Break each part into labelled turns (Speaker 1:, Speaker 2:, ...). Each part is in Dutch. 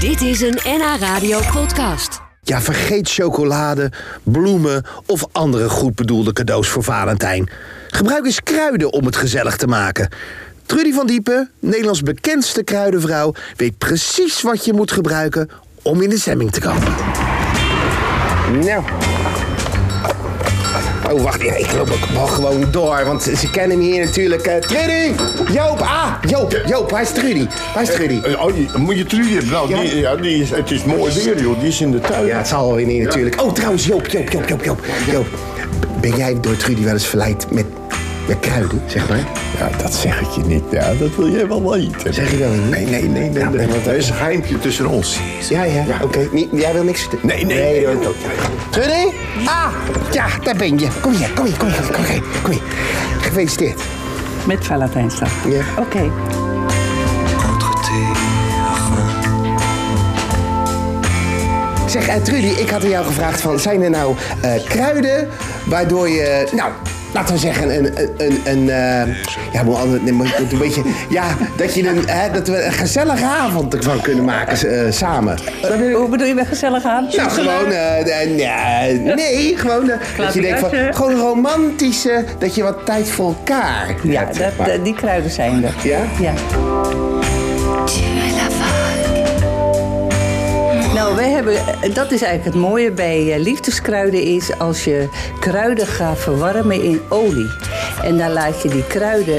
Speaker 1: Dit is een NH Radio podcast.
Speaker 2: Ja, vergeet chocolade, bloemen of andere goed bedoelde cadeaus voor Valentijn. Gebruik eens kruiden om het gezellig te maken. Trudy van Diepen, Nederlands bekendste kruidenvrouw, weet precies wat je moet gebruiken om in de stemming te komen. Nou. Oh, wacht, ja, ik loop ook wel gewoon door, want ze, ze kennen me hier natuurlijk. eh, Trudy! Joop, ah, Joop, Joop, waar is Trudy? Waar is Trudy?
Speaker 3: Eh, Oh, je- moet je Trudy hebben? Nou,
Speaker 2: Ja.
Speaker 3: die, ja, die is, het is mooi weer, joh. Die is in de tuin.
Speaker 2: Ja, het zal wel weer niet natuurlijk. Oh, trouwens, Joop, Joop, Joop, Joop, Joop. Joop, ben jij door Trudy wel eens verleid met, met kruiden, zeg maar?
Speaker 3: Ja, dat zeg ik je niet. Ja, dat wil jij wel weten.
Speaker 2: Zeg je wel niet?
Speaker 3: Nee, nee, nee. nee, nee, want er is een geheimtje tussen ons.
Speaker 2: Ja, ja, oké. Niet- Jij wil niks...
Speaker 3: Nee, nee, nee.
Speaker 2: dat wil ik ook. Trudy? Ah, ja, daar ben je. Kom hier, kom hier, kom hier, kom hier. Kom hier. Gefeliciteerd.
Speaker 4: Met Valentijnsdag.
Speaker 2: Ja.
Speaker 4: Oké.
Speaker 2: Zeg, eh, Trudy, ik had aan jou gevraagd van... zijn er nou eh, kruiden waardoor je... Nou, laten we zeggen een... een, een, een eh, ja, moet anders, nee, moet- moet een beetje... Ja, dat, je een, hè, dat we een gezellige avond ervan kunnen maken eh, samen.
Speaker 4: Hoe bedoel je met gezellig aan?
Speaker 2: Nou, gewoon... eh, eh, nee, nee, gewoon... eh, dat je denkt van...
Speaker 4: Klaverjassen.
Speaker 2: Gewoon romantische... Dat je wat tijd voor elkaar
Speaker 4: Ja,
Speaker 2: hebt, zeg
Speaker 4: dat,
Speaker 2: maar.
Speaker 4: dat- die kruiden zijn er.
Speaker 2: Ja?
Speaker 4: Ja. Nou, wij hebben, dat is eigenlijk het mooie bij eh, liefdeskruiden is als je kruiden gaat verwarmen in olie. En dan laat je die kruiden,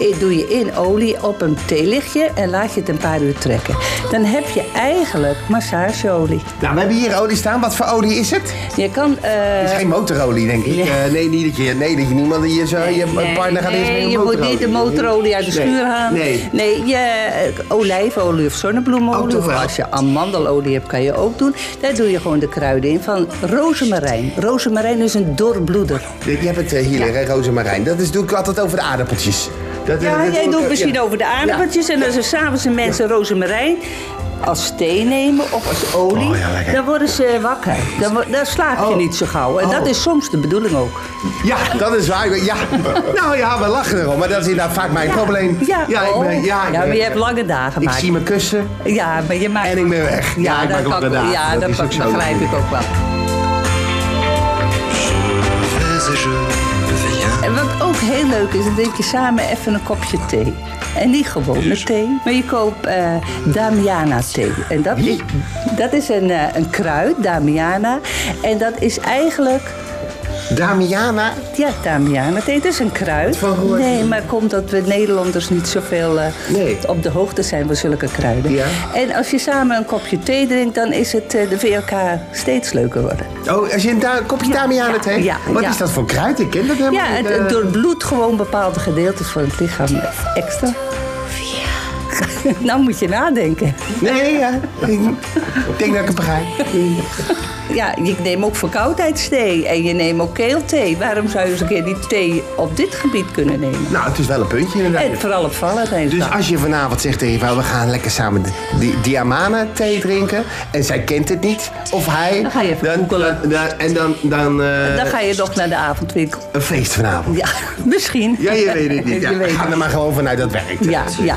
Speaker 4: eh, doe je in olie op een theelichtje en laat je het een paar uur trekken. Dan heb je eigenlijk massageolie.
Speaker 2: Nou, we hebben hier olie staan. Wat voor olie is het?
Speaker 4: Je kan... eh,
Speaker 2: Geen motorolie, denk ik.
Speaker 4: Nee.
Speaker 2: Eh, nee, niet dat je, nee, dat je niemand je, zo, je
Speaker 4: Nee,
Speaker 2: partner gaat eerst mee
Speaker 4: nee,
Speaker 2: een
Speaker 4: je moet niet de motorolie uit de
Speaker 2: Nee,
Speaker 4: schuur halen.
Speaker 2: Nee.
Speaker 4: je, eh, olijfolie of
Speaker 2: Oh,
Speaker 4: zonnebloemolie.
Speaker 2: toch
Speaker 4: Of
Speaker 2: wel.
Speaker 4: als je amandelolie hebt, kan je ook doen. Daar doe je gewoon de kruiden in van rozemarijn. Rozemarijn is een doorbloeder.
Speaker 2: Je hebt het eh, hier, hè, rozemarijn. Dat is, doe ik altijd over de aardappeltjes. Dat, eh, dat
Speaker 4: Ja, jij
Speaker 2: doe ik,
Speaker 4: doet
Speaker 2: eh,
Speaker 4: misschien
Speaker 2: ja.
Speaker 4: over de aardappeltjes. En als er s'avonds een mensen rozemarijn als thee nemen of als olie,
Speaker 2: Oh, ja, lekker.
Speaker 4: dan worden ze wakker. Dan, wo- dan slaap je
Speaker 2: Oh.
Speaker 4: niet zo gauw. En dat
Speaker 2: Oh.
Speaker 4: is soms de bedoeling ook.
Speaker 2: Ja, dat is waar. Ja. Nou ja, we lachen erom, maar dat is inderdaad vaak mijn probleem.
Speaker 4: Ja,
Speaker 2: ik
Speaker 4: oh.
Speaker 2: ben, ja, ik
Speaker 4: maar
Speaker 2: ben-
Speaker 4: je hebt lange dagen
Speaker 2: Ik
Speaker 4: gemaakt.
Speaker 2: zie mijn kussen
Speaker 4: Ja, maar je maakt...
Speaker 2: en ik ben weg.
Speaker 4: Ja,
Speaker 2: ik maak
Speaker 4: dat,
Speaker 2: ook
Speaker 4: kan,
Speaker 2: de
Speaker 4: ik-
Speaker 2: daad.
Speaker 4: ja, dat,
Speaker 2: is
Speaker 4: pak-
Speaker 2: ook zo.
Speaker 4: begrijp ik ook wel. En wat ook heel leuk is, dan drink je samen even een kopje thee. En niet gewone thee, maar je koopt eh, Damiana thee. En dat is, dat is een, eh, een kruid, Damiana. En dat is eigenlijk,
Speaker 2: Damiana,
Speaker 4: ja, Damiana thee, dat is een kruid.
Speaker 2: Van gehoord.
Speaker 4: Nee, maar komt dat we Nederlanders niet zoveel eh,
Speaker 2: Nee.
Speaker 4: op de hoogte zijn van zulke kruiden.
Speaker 2: Ja.
Speaker 4: En als je samen een kopje thee drinkt, dan is het eh, de VLK steeds leuker worden.
Speaker 2: oh, als je een da- kopje Damiana
Speaker 4: ja,
Speaker 2: thee.
Speaker 4: ja,
Speaker 2: Wat
Speaker 4: ja.
Speaker 2: is dat voor kruid? Ik ken dat helemaal
Speaker 4: Ja,
Speaker 2: niet.
Speaker 4: het,
Speaker 2: eh.
Speaker 4: het doorbloedt gewoon bepaalde gedeeltes van het lichaam extra. nou moet je nadenken.
Speaker 2: Nee, ja. ik denk dat ik het begrijp.
Speaker 4: Ja, je neemt ook verkoudheidsthee en je neemt ook keelthee. Waarom zou je eens een keer die thee op dit gebied kunnen nemen?
Speaker 2: Nou, het is wel een puntje inderdaad.
Speaker 4: En vooral op
Speaker 2: Dus
Speaker 4: Valentijnsdag.
Speaker 2: als je vanavond zegt tegen je vrouw, we gaan lekker samen di- di Diamana thee drinken. En zij kent het niet. Of hij.
Speaker 4: Dan ga je even googelen.
Speaker 2: dan, dan- En dan, dan eh,
Speaker 4: Dan ga je nog naar de avondwinkel.
Speaker 2: een feest vanavond.
Speaker 4: Ja, misschien.
Speaker 2: Ja, je weet het niet. Ja,
Speaker 4: Je weet
Speaker 2: ga
Speaker 4: het.
Speaker 2: er maar gewoon vanuit dat werkt.
Speaker 4: Ja, ja.